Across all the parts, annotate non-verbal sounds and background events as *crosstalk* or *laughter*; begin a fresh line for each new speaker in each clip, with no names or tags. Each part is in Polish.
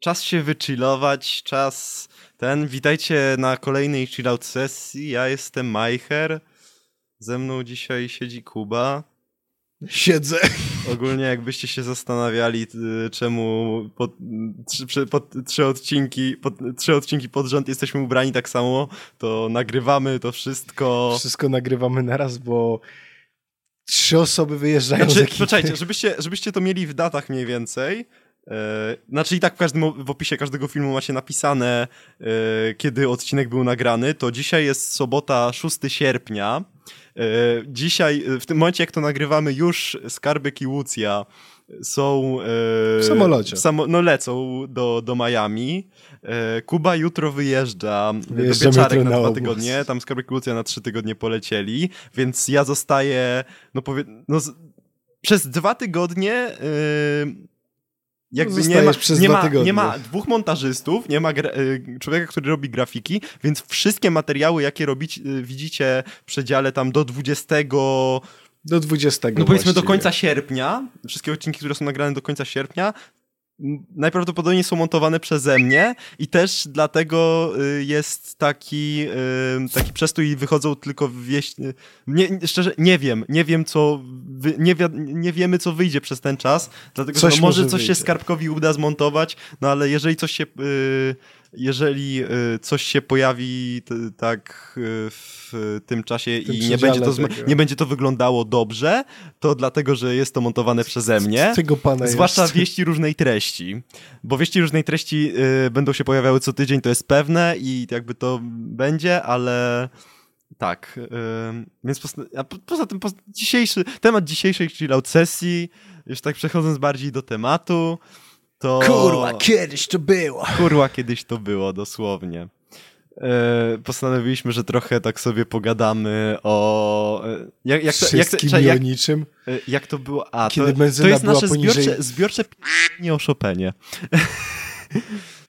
Czas się wychillować, czas ten. Witajcie na kolejnej chillout sesji. Ja jestem Majcher. Ze mną dzisiaj siedzi Kuba. *laughs*
Siedzę.
Ogólnie jakbyście się zastanawiali, y, czemu pod, trzy, przy- pod, trzy, odcinki, pod, trzy odcinki pod rząd jesteśmy ubrani tak samo, to nagrywamy to wszystko.
Wszystko nagrywamy naraz, bo trzy osoby wyjeżdżają z
Znaczy,
ekipy.
poczekajcie, żebyście, żebyście to mieli w datach mniej więcej. Yy, znaczy i tak w, każdym, w opisie każdego filmu macie napisane, yy, kiedy odcinek był nagrany. To dzisiaj jest sobota 6 sierpnia. Yy, dzisiaj, yy, w tym momencie jak to nagrywamy, już Skarby i Łucja są... yy,
W samolocie.
w samo- no lecą do, do Miami. Yy, Kuba jutro wyjeżdża
Wyjeżdżamy
do Pieczarek
jutro
na
na
dwa
obóz.
tygodnie, tam Skarby i Łucja na trzy tygodnie polecieli, więc ja zostaję, no powie... No, z- przez dwa tygodnie. Yy, jakby nie
zostajesz
ma,
przez
nie,
dwa
ma,
tygodnie.
nie ma dwóch montażystów, nie ma gra, y, człowieka, który robi grafiki, więc wszystkie materiały, jakie robić, y, widzicie w przedziale tam do 20, no,
Do 20.
powiedzmy do
właściwie.
końca sierpnia, wszystkie odcinki, które są nagrane do końca sierpnia, m, najprawdopodobniej są montowane przeze mnie i też dlatego y, jest taki, y, taki przestój i wychodzą tylko wieści. Nie, nie- szczerze, nie wiem, nie wiem co, wy, nie, wi- nie wiemy co wyjdzie przez ten czas, dlatego
Coś
że no, może,
może
coś się
wyjdzie.
Skarbkowi uda zmontować, no ale jeżeli coś się, y, jeżeli y, coś się pojawi t, tak y, w tym czasie
tym
i nie
przedziale
będzie, to, zm-
tego.
nie będzie to wyglądało dobrze, to dlatego, że jest to montowane przeze mnie.
Z tego pana
Zwłaszcza
jest.
wieści różnej treści, bo wieści różnej treści y, będą się pojawiały co tydzień, to jest pewne i jakby to będzie, ale tak. y, więc posta- a po, poza tym poz- dzisiejszy, temat dzisiejszej chillout sesji, już tak przechodząc bardziej do tematu, to...
Kurwa, kiedyś to było.
Kurwa, kiedyś to było, dosłownie. E, Postanowiliśmy, że trochę tak sobie pogadamy o. e, Jak, jak, to, jak, to-
Wszystkim
czekaj,
i o
jak,
niczym.
e, jak to było? A,
Kiedy
to, to
benzyna
jest
była
nasze
poniżej-
zbiorcze, zbiorcze p***nie o Chopinie.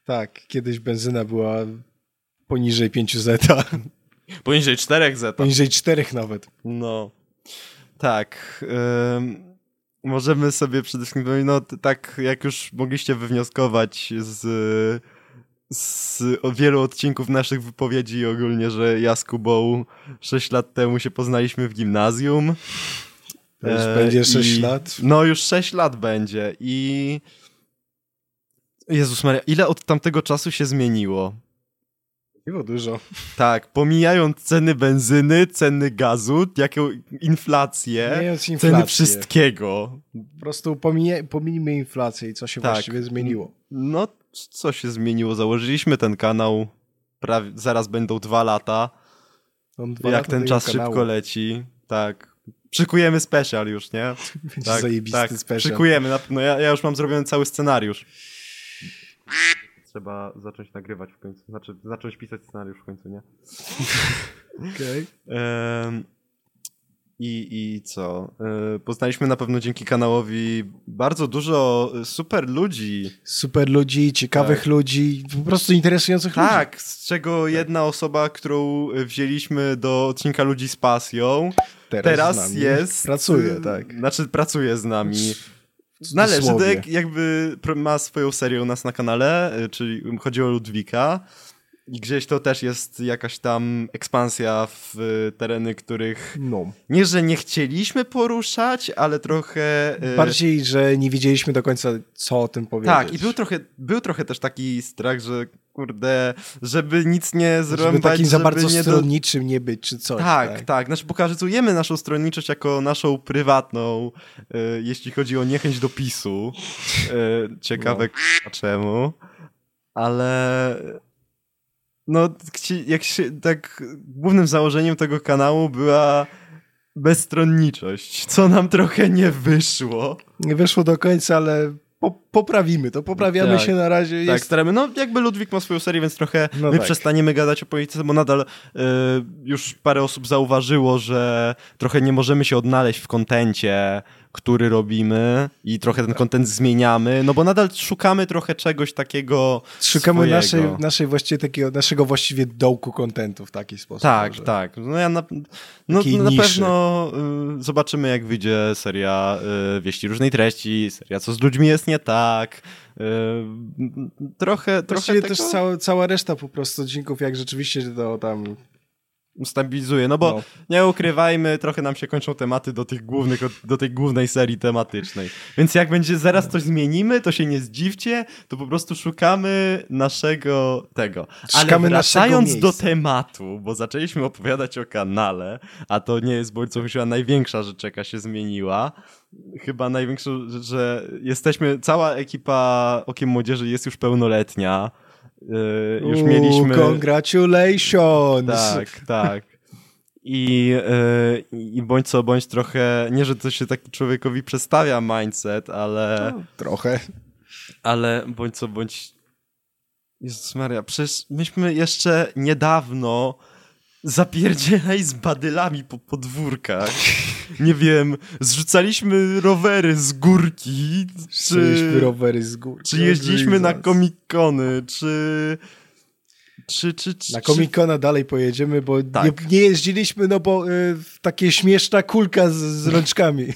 Tak, kiedyś benzyna była poniżej
*laughs*
5 zeta.
Poniżej 4 zeta.
Poniżej 4 nawet.
No. Tak. ym, możemy sobie przede wszystkim, no t- tak jak już mogliście wywnioskować z, z o wielu odcinków naszych wypowiedzi ogólnie, że ja z Kubą 6 lat temu się poznaliśmy w gimnazjum.
To już
E,
będzie 6
i-
lat.
No już 6 lat będzie i... Jezus Maria, ile od tamtego czasu się zmieniło?
Było dużo.
Tak, pomijając ceny benzyny, ceny gazu, jaką inflację.
Mijając
Ceny
inflację.
wszystkiego.
Po prostu pomij- pominijmy inflację i co się
Tak.
właściwie zmieniło.
No, c- co się zmieniło? Założyliśmy ten kanał. Prawie, zaraz będą dwa lata.
Mam dwa
jak
lata
ten
tego
czas
kanału.
szybko leci. Tak. Szykujemy special już, nie?
Będzie
Tak,
*laughs* zajebisty
tak.
special.
Szykujemy. na- No ja, ja już mam zrobiony cały scenariusz. Trzeba zacząć nagrywać w końcu. Znaczy, zacząć pisać scenariusz w końcu, nie?
Okej.
Em, I, I co? E, Poznaliśmy na pewno dzięki kanałowi bardzo dużo e, super ludzi.
Super ludzi, ciekawych
Tak.
ludzi, po prostu interesujących ludzi.
Tak, z czego jedna osoba, którą y, wzięliśmy do odcinka Ludzi z Pasją, teraz,
z nami
jest.
Pracuje,
y,
tak.
Znaczy, pracuje z nami.
W
Należy,
cudzysłowie.
Dek jakby pro- ma swoją serię u nas na kanale, y, czyli chodzi o Ludwika. I gdzieś to też jest jakaś tam ekspansja w y, tereny, których
No.
nie, że nie chcieliśmy poruszać, ale trochę. y,
Bardziej, że nie wiedzieliśmy do końca, co o tym powiedzieć.
Tak, i był trochę, był trochę też taki strach, że kurde, żeby nic nie
żeby
zrobić.
takim za bardzo
tak, nie do-
stronniczym nie być, czy coś.
Tak, tak, Znaczy pokazujemy naszą stronniczość jako naszą prywatną, e, jeśli chodzi o niechęć do PiSu. E, ciekawe k***a czemu. Ale no, chci- jak się, tak głównym założeniem tego kanału była bezstronniczość, co nam trochę nie wyszło.
Nie wyszło do końca, ale po, poprawimy to. Poprawiamy
Tak.
się na razie.
Tak,
Jest...
staramy. No, jakby Ludwik ma swoją serię, więc trochę
No
my
tak.
przestaniemy gadać o polityce, bo nadal e, już parę osób zauważyło, że trochę nie możemy się odnaleźć w kontencie, który robimy i trochę ten content zmieniamy, no bo nadal szukamy trochę czegoś takiego
Szukamy
swojego.
naszej, naszej właściwie takiego, naszego właściwie dołku kontentu w taki sposób.
Tak,
że-
tak. No ja na, no,
Takiej
na
niszy.
pewno y, zobaczymy, jak wyjdzie seria y, wieści różnej treści, seria co z ludźmi jest nie tak. Y, m, trochę trochę
Właściwie
tego
też cała, cała reszta po prostu odcinków, jak rzeczywiście to tam...
stabilizuje, no bo
No.
nie ukrywajmy, trochę nam się kończą tematy do, tych głównych, do tej głównej serii tematycznej. Więc jak będzie zaraz coś zmienimy, to się nie zdziwcie, to po prostu szukamy naszego tego. Ale
Szukamy naszego
wracając do
miejsca.
tematu, bo zaczęliśmy opowiadać o kanale, a to nie jest bądź co myślała największa rzecz, jaka się zmieniła. Chyba największa rzecz, że jesteśmy, cała ekipa Okiem Młodzieży jest już pełnoletnia. Yy, już
Uuu,
mieliśmy...
Congratulations!
Tak, tak. I, e, I bądź co, bądź trochę, nie, że to się taki człowiekowi przestawia mindset, ale,
Tak. No, Trochę.
ale bądź co, bądź... Jezus Maria, przecież myśmy jeszcze niedawno zapierdzielaj z badylami po podwórkach. Nie wiem, zrzucaliśmy rowery z górki,
Czy...
czy,
rowery z góry.
czy jeździliśmy na
Jesus.
komikony, czy... Czy, czy, czy,
Na
czy
Komikona dalej pojedziemy, bo
Tak.
nie, nie jeździliśmy, no bo y, takie śmieszna kulka z, z rączkami.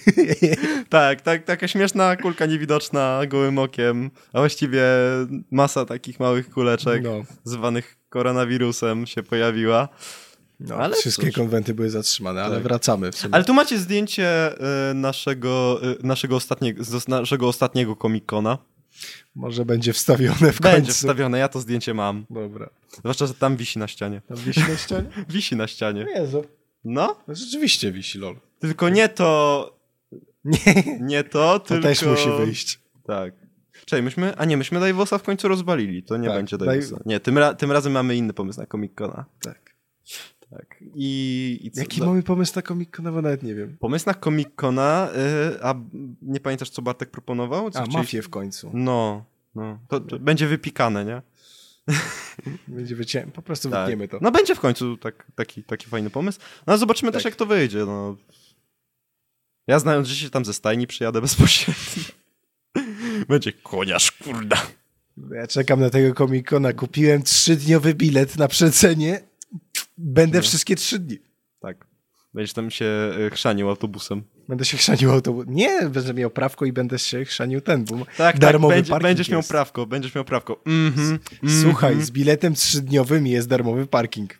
Tak, tak, taka śmieszna kulka niewidoczna gołym okiem, a właściwie masa takich małych kuleczek
No.
zwanych koronawirusem się pojawiła.
No,
Ale
wszystkie
cóż.
konwenty były zatrzymane, ale
Tak.
wracamy w sumie.
Ale tu macie zdjęcie y, naszego, y, naszego, ostatniego, z naszego ostatniego komikona.
Może będzie wstawione w końcu.
Będzie wstawione, ja to zdjęcie mam.
Dobra.
Zwłaszcza, że tam wisi na ścianie.
Tam wisi na ścianie?
Wisi na ścianie.
*laughs* Jezu.
No,
No, rzeczywiście wisi, lol.
tylko nie to,
Nie,
nie to,
to
tylko...
też musi wyjść.
Tak. Czekaj, myśmy... A nie, myśmy Dajwosa w końcu rozbalili, to nie
Tak,
będzie
Daj-
Dajwosa. Nie, tym, ra- tym razem mamy inny pomysł na komikona.
Tak.
Tak. I, i co,
Jaki
no,
mamy pomysł na Komikona, bo nawet nie wiem.
Pomysł na Comic-Cona, y, a nie pamiętasz, co Bartek proponował? Co
A,
chcieliście-
mafię w końcu.
No, no. To, to będzie wypikane, nie?
Będzie wycię... Po prostu
Tak.
wytniemy to.
No będzie w końcu tak, taki, taki fajny pomysł. No zobaczymy też,
Tak.
jak to wyjdzie. No. Ja znając życie tam ze stajni przyjadę bezpośrednio. *laughs* Będzie koniarz, kurda.
Ja czekam na tego Komikona. Kupiłem trzydniowy bilet na przecenie. Będę
No.
wszystkie trzy dni.
Tak. Będziesz tam się y, chrzanił autobusem.
Będę się chrzanił autobus. Nie, będę miał prawko i będę się chrzanił ten, bo
Tak,
darmowy
tak, będzie,
parking
będziesz miał
jest.
prawko, będziesz miał prawko. Mhm, mhm.
Słuchaj, z biletem trzydniowym jest darmowy parking.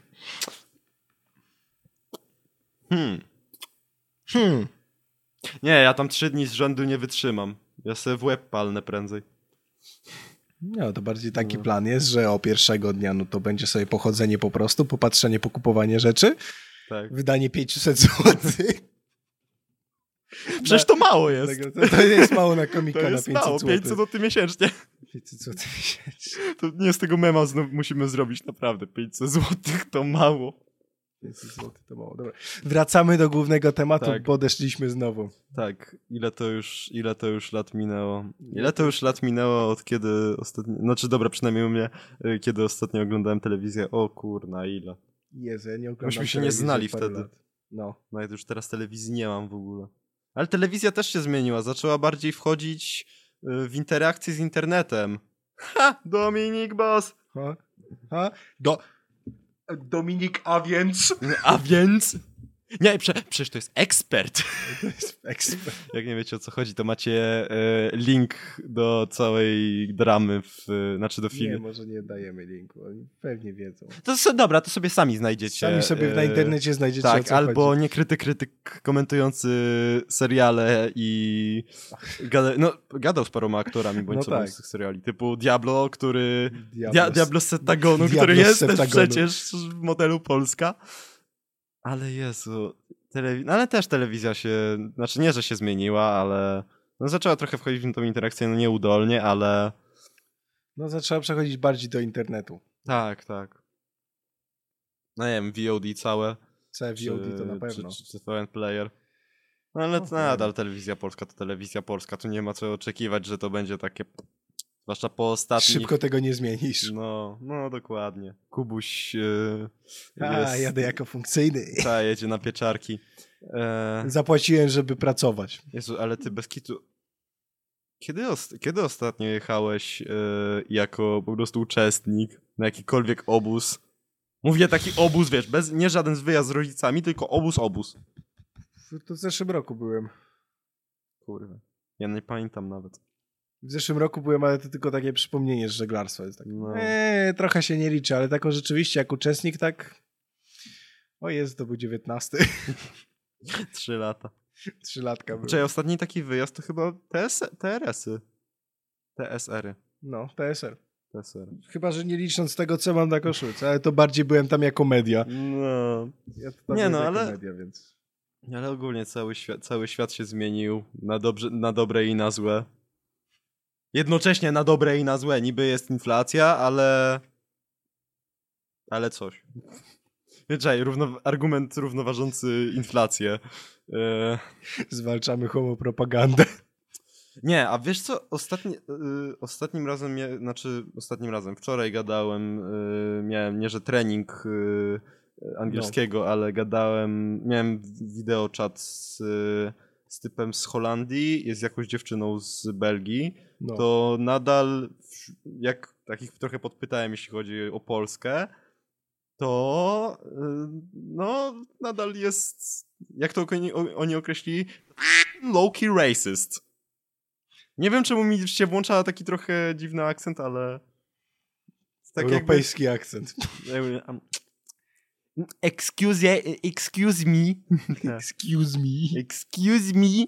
Hmm.
Hmm.
Nie, ja tam trzy dni z rzędu nie wytrzymam. Ja sobie w łeb palnę prędzej.
No, to bardziej taki plan jest, że o pierwszego dnia no to będzie sobie pochodzenie po prostu, popatrzenie, pokupowanie rzeczy,
Tak.
wydanie *laughs* 500 zł.
Przecież to mało jest.
Tego- To, to jest mało na
To
komika na 500
jest mało,
zł.
500 zł miesięcznie. *laughs*
500 zł miesięcznie.
To nie z tego mema znów musimy zrobić, naprawdę. 500 zł to mało.
500 zł to mało. Dobra. Wracamy do głównego tematu,
Tak.
bo odeszliśmy znowu.
Tak, ile to już, ile to już lat minęło? Ile to już lat minęło od kiedy ostatnio, znaczy dobra, przynajmniej u mnie, y, kiedy ostatnio oglądałem telewizję, o kurna, ile.
Jezu, ja nie oglądam
Myśmy się nie
telewizji
znali
od paru
wtedy.
lat. No.
No ja już teraz telewizji nie mam w ogóle. Ale telewizja też się zmieniła, zaczęła bardziej wchodzić y, w interakcję z internetem. Ha! Dominik Boss!
Ha? Ha? Do... Dominik, a więc...
A więc? Nie, prze, przecież to jest ekspert.
*laughs* To jest ekspert.
Jak nie wiecie o co chodzi, to macie y, link do całej dramy, w, y, znaczy do
Nie,
filmu.
może nie dajemy linku, oni pewnie wiedzą.
To so, dobra, to sobie sami znajdziecie.
Sami sobie na
y,
internecie znajdziecie, o
Tak,
co
albo
chodzi.
niekryty krytyk komentujący seriale i gada, no, gadał z paroma aktorami bądź
No
co
tak.
bądź z tych seriali, typu Diablo, który...
Diablo.
Dia, Diablo z Septagonu,
Diablo
który
z
jest też
Septagonu.
przecież w modelu Polska. Ale Jezu, telewi- no ale też telewizja się, znaczy nie, że się zmieniła, ale no zaczęła trochę wchodzić w tą interakcję, no nieudolnie, ale
No zaczęła przechodzić bardziej do internetu.
tak, tak. No nie wiem, VOD całe.
Całe VOD to na pewno.
Czy, czy, czy TVN Player. No ale
No,
nadal telewizja polska to telewizja polska. Tu nie ma co oczekiwać, że to będzie takie Zwłaszcza po ostatnich...
Szybko tego nie zmienisz.
No, no dokładnie. Kubuś yy,
A,
jest...
jadę jako funkcyjny.
Ta, jedzie na pieczarki. E,
Zapłaciłem, żeby pracować.
Jezu, ale ty bez kitu... Kiedy, os- kiedy ostatnio jechałeś e, jako po prostu uczestnik na jakikolwiek obóz? Mówię taki obóz, wiesz, bez, nie żaden z wyjazd z rodzicami, tylko obóz, obóz.
To w zeszłym roku byłem.
Kurwa. Ja nie pamiętam nawet.
W zeszłym roku byłem, ale to tylko takie przypomnienie z żeglarstwa. Jest tak.
No.
Eee, trochę się nie liczy, ale taką rzeczywiście jak uczestnik tak... O jest, to był 19.
Trzy lata.
*laughs* Trzylatka był.
Czekaj, ostatni taki wyjazd to chyba TS TRS-y. TSR-y.
No, PSL.
TSR.
Chyba, że nie licząc tego, co mam na koszulce, ale to bardziej byłem tam jako media.
No.
Ja to tam
Nie
byłem
no,
jako
ale-
Media, więc...
Ale ogólnie cały świat, cały świat się zmienił na, dobrze, na dobre i na złe. Jednocześnie na dobre i na złe. Niby jest inflacja, ale. Ale coś. Czekaj, równo, argument równoważący inflację. E,
Zwalczamy homopropagandę.
Nie, a wiesz co, Ostatni, y, ostatnim razem, mia- znaczy ostatnim razem, wczoraj gadałem, y, miałem nie, że trening y, angielskiego, ale gadałem, miałem wideo czat z, y, z typem z Holandii, jest jakąś dziewczyną z Belgii,
No.
to nadal, wś- jak takich trochę podpytałem, jeśli chodzi o Polskę, to y, no nadal jest, jak to oni, oni określili, low-key racist. Nie wiem, czemu mi się włącza taki trochę dziwny akcent, ale. Tak
Europejski akcent.
jakby. Excuse, excuse me.
Excuse me.
Excuse me.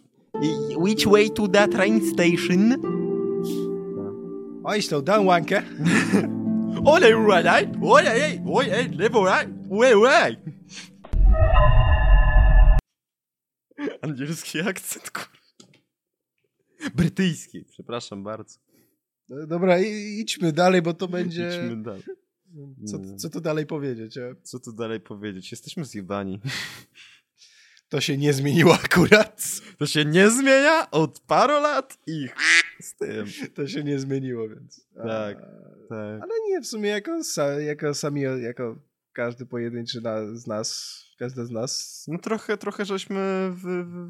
Which way to the train station?
Oj, slow down, łankę.
Olej, right? eh? Olej, olej, lewo, eh? right? Way, way. Angielski akcent, kurwa. Brytyjski, przepraszam bardzo.
E, Dobra, i- idźmy dalej, bo to będzie...
Idźmy mm. dalej.
Co, co tu dalej powiedzieć? e?
Co tu dalej powiedzieć? Jesteśmy zjebani.
To się nie zmieniło *laughs* akurat.
To się nie zmienia od paru lat i ch- z tym.
To się nie zmieniło, więc... a-
Tak. Tak.
Ale nie, w sumie jako, sa- jako sami, jako każdy pojedynczy na, z nas, każdy z nas,
No trochę, trochę żeśmy wy, wy,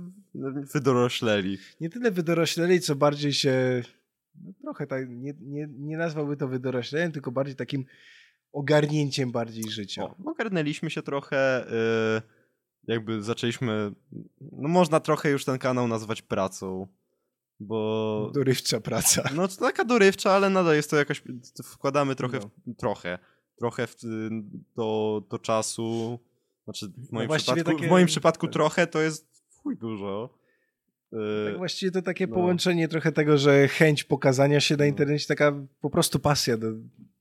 wydorośleli.
nie tyle wydorośleli, co bardziej się, no trochę tak, nie, nie, nie nazwałby to wydorośleniem, tylko bardziej takim ogarnięciem bardziej życia.
O, ogarnęliśmy się trochę, y, jakby zaczęliśmy, no można trochę już ten kanał nazwać pracą, bo...
Dorywcza praca.
No to taka dorywcza, ale nadal jest to jakaś, wkładamy trochę,
No.
w, trochę, trochę w y, do, do czasu, znaczy w moim,
No właściwie
przypadku,
takie- tak.
w moim przypadku trochę to jest chuj dużo. Y,
Tak właściwie to takie
no.
połączenie trochę tego, że chęć pokazania się na
No.
internecie, taka po prostu pasja do,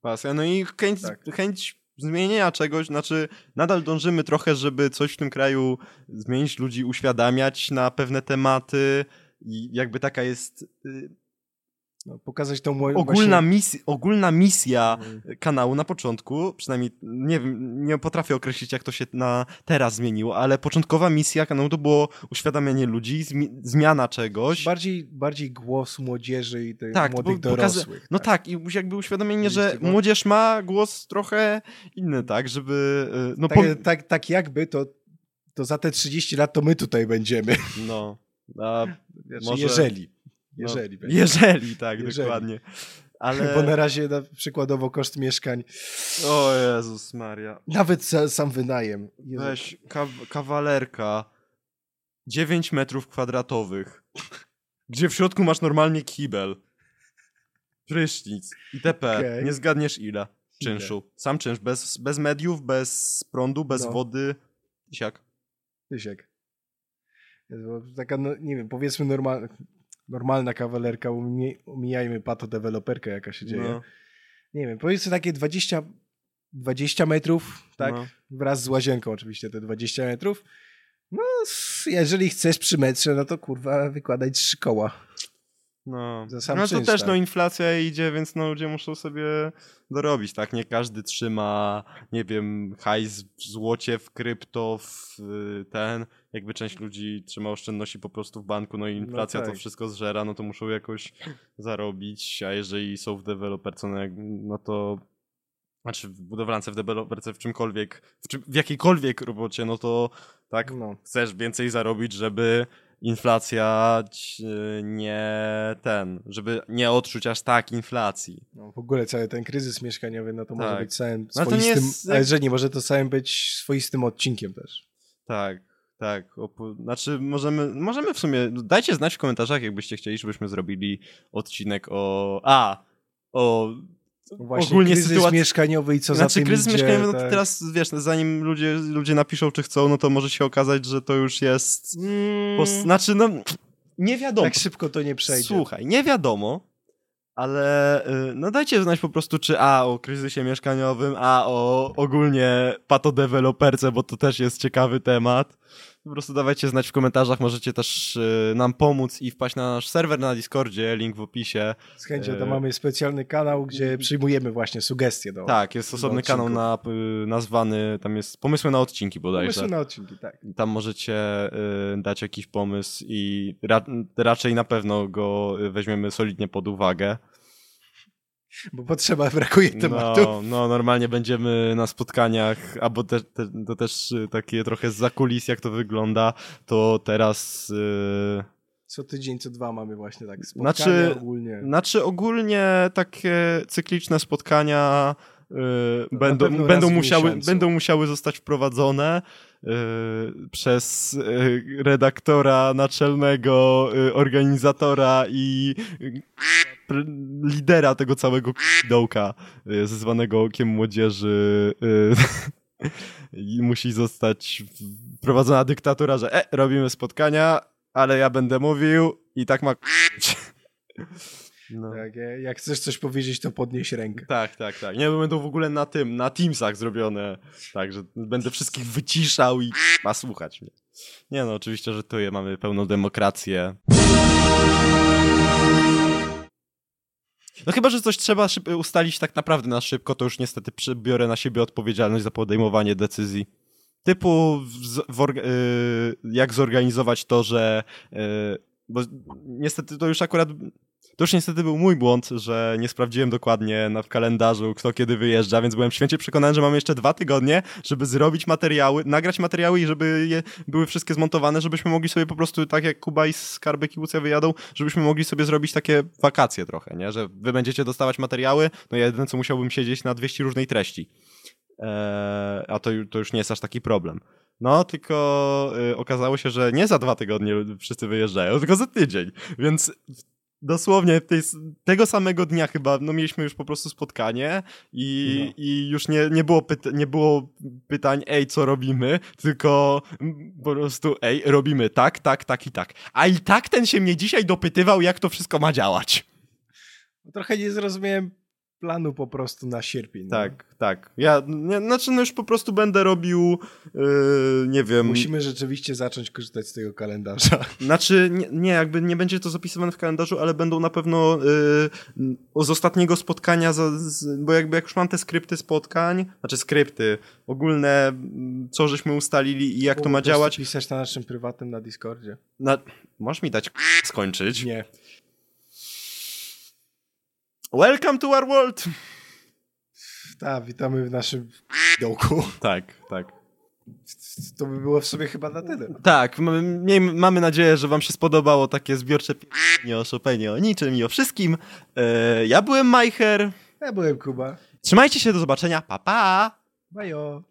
Pasja. No i chęć,
Tak.
chęć zmienienia czegoś, znaczy nadal dążymy trochę, żeby coś w tym kraju zmienić, ludzi uświadamiać na pewne tematy i jakby taka jest y,
no, pokazać tą moją
ogólna, mis- ogólna misja
właśnie,
kanału na początku, przynajmniej nie wiem, nie potrafię określić jak to się na teraz zmieniło, ale początkowa misja kanału to było uświadamianie ludzi, zmi- zmiana czegoś.
bardziej, bardziej głos młodzieży i tych
Tak,
młodych
bo pokaza-
dorosłych.
No tak, i jakby uświadomienie, że
Mieliście go?
młodzież ma głos trochę inny, tak, żeby... y, No,
tak,
pom-
tak, tak jakby to, to za te 30 lat to my tutaj będziemy. *laughs*
No. A,
Znaczy,
Może-
Jeżeli.
no,
Jeżeli będzie.
jeżeli, tak,
Jeżeli.
dokładnie. Ale.
Bo na razie na, przykładowo koszt mieszkań,
O Jezus Maria.
nawet sa, sam wynajem. Jezu.
Weź ka kawalerka 9 metrów kwadratowych, gdzie w środku masz normalnie kibel, prysznic itp.
Okej.
Nie zgadniesz ile czynszu. Sam czynsz, bez, bez mediów, bez prądu, bez
No.
wody. Siak.
Tysiek. Jezu, bo Taka, no, nie wiem, powiedzmy normal, normalna kawalerka, umie- omijajmy patodeweloperkę jaka się dzieje.
No,
Nie wiem, powiedzmy takie 20, 20 metrów, tak?
no.
Wraz z łazienką oczywiście te 20 metrów. No, s- jeżeli chcesz przy metrze, no to kurwa wykładaj trzy koła.
No,
Za sam
no to
czynsz,
też
tak.
no inflacja idzie, więc no ludzie muszą sobie dorobić, tak? Nie każdy trzyma, nie wiem, hajs w złocie, w krypto, w y, ten. Jakby część ludzi trzyma oszczędności po prostu w banku, no i
No
inflacja to
tak.
wszystko zżera, no to muszą jakoś zarobić, a jeżeli są w deweloperce, no, jak- no to... Znaczy w budowlance, w deweloperce, w czymkolwiek, w, czym, w jakiejkolwiek robocie, no to tak
No.
chcesz więcej zarobić, żeby inflacja ci, y, nie ten, żeby nie odczuć aż tak inflacji.
No, w ogóle cały ten kryzys mieszkaniowy, no to może
Tak.
być samym
No to nie
swoistym,
jest-
ale że nie, może to samym być swoistym odcinkiem też.
Tak, tak. Opu- znaczy możemy, możemy w sumie, dajcie znać w komentarzach, jakbyście chcieli, żebyśmy zrobili odcinek o, a, o
No Właśnie
ogólnie
kryzys
sytuacja-
mieszkaniowy i co za
znaczy
tym
kryzys
idzie,
mieszkaniowy, no to
tak.
teraz wiesz, no, zanim ludzie, ludzie napiszą czy chcą, no to może się okazać, że to już jest,
Mm,
pos- znaczy no nie wiadomo.
tak szybko to nie przejdzie.
Słuchaj, nie wiadomo, ale y, no dajcie znać po prostu, czy A o kryzysie mieszkaniowym, a o ogólnie patodeweloperce, bo to też jest ciekawy temat. Po prostu dawajcie znać w komentarzach, możecie też y, nam pomóc i wpaść na nasz serwer na Discordzie, link w opisie.
Z chęcią to
E,
mamy specjalny kanał,
Mm.
gdzie przyjmujemy właśnie sugestie do
Tak, jest osobny kanał
odcinków.
na, y, nazwany, tam jest pomysły na odcinki bodajże.
pomysłu na odcinki, tak.
Tam możecie y, dać jakiś pomysł i ra- raczej na pewno go y, weźmiemy solidnie pod uwagę.
Bo potrzeba, *laughs* brakuje tematu.
No, no, normalnie będziemy na spotkaniach, albo te, te, to też y, takie trochę za kulis, jak to wygląda, to teraz... Yy,
Co tydzień, co dwa mamy właśnie tak spotkania
Znaczy-
ogólnie.
znaczy ogólnie takie cykliczne spotkania y,
na
będą,
pewno
będą,
raz w
musiały,
miesiącu.
będą musiały zostać wprowadzone y, przez y, redaktora naczelnego, y, organizatora i y, pr- lidera tego całego dołka y, zwanego okiem młodzieży. Y, *laughs* I musi zostać wprowadzona dyktatura, że e, robimy spotkania, ale ja będę mówił i tak ma k***ć. No.
Tak, e, jak chcesz coś powiedzieć, to podnieś rękę.
Tak, tak, tak. Nie, bo będą w ogóle na tym, na Teamsach zrobione. Tak, że będę wszystkich wyciszał i ma słuchać mnie. Nie no, oczywiście, że tu je mamy pełną demokrację. No chyba, że coś trzeba szyb- ustalić tak naprawdę na szybko, to już niestety przybiorę na siebie odpowiedzialność za podejmowanie decyzji. Typu w, z- w orga- y, jak zorganizować to, że... Y, bo niestety to już akurat to już niestety był mój błąd, że nie sprawdziłem dokładnie na, w kalendarzu, kto kiedy wyjeżdża, więc byłem święcie przekonany, że mam jeszcze dwa tygodnie, żeby zrobić materiały, nagrać materiały i żeby je były wszystkie zmontowane, żebyśmy mogli sobie po prostu, tak jak Kuba i Skarby Kibucja wyjadą, żebyśmy mogli sobie zrobić takie wakacje trochę, nie? Że wy będziecie dostawać materiały, no ja jedyne co musiałbym siedzieć na 200 różnej treści. Eee, a to, ju- to już nie jest aż taki problem. No, tylko y, okazało się, że nie za dwa tygodnie wszyscy wyjeżdżają, tylko za tydzień. Więc dosłownie tej, s- tego samego dnia chyba, no mieliśmy już po prostu spotkanie i,
No.
i już nie, nie, było pyta- nie było pytań, ej, co robimy, tylko mm, po prostu, ej, robimy tak, tak, tak i tak. A i tak ten się mnie dzisiaj dopytywał, jak to wszystko ma działać.
Trochę nie zrozumiałem planu po prostu na sierpień. no.
Tak, tak. Ja, nie, znaczy, no już po prostu będę robił, yy, nie
No.
wiem...
Musimy rzeczywiście zacząć korzystać z tego kalendarza.
Znaczy, nie, nie, jakby nie będzie to zapisywane w kalendarzu, ale będą na pewno y, z ostatniego spotkania, za, z, bo jakby jak już mam te skrypty spotkań, znaczy skrypty ogólne, mm, co żeśmy ustalili i *laughs* jak to
Po
ma
prostu
działać.
pisać na naszym prywatnym na Discordzie.
Na, możesz mi dać skończyć?
Nie.
Welcome to our world!
Tak, witamy w naszym *laughs* dołku.
Tak, tak.
To by było w sobie chyba na tyle.
Tak, mamy, miej- mamy nadzieję, że wam się spodobało takie zbiorcze p***nie o Chopinie, o niczym i o wszystkim. E, ja byłem Majcher.
Ja byłem Kuba.
Trzymajcie się, do zobaczenia, pa pa!
Bajo.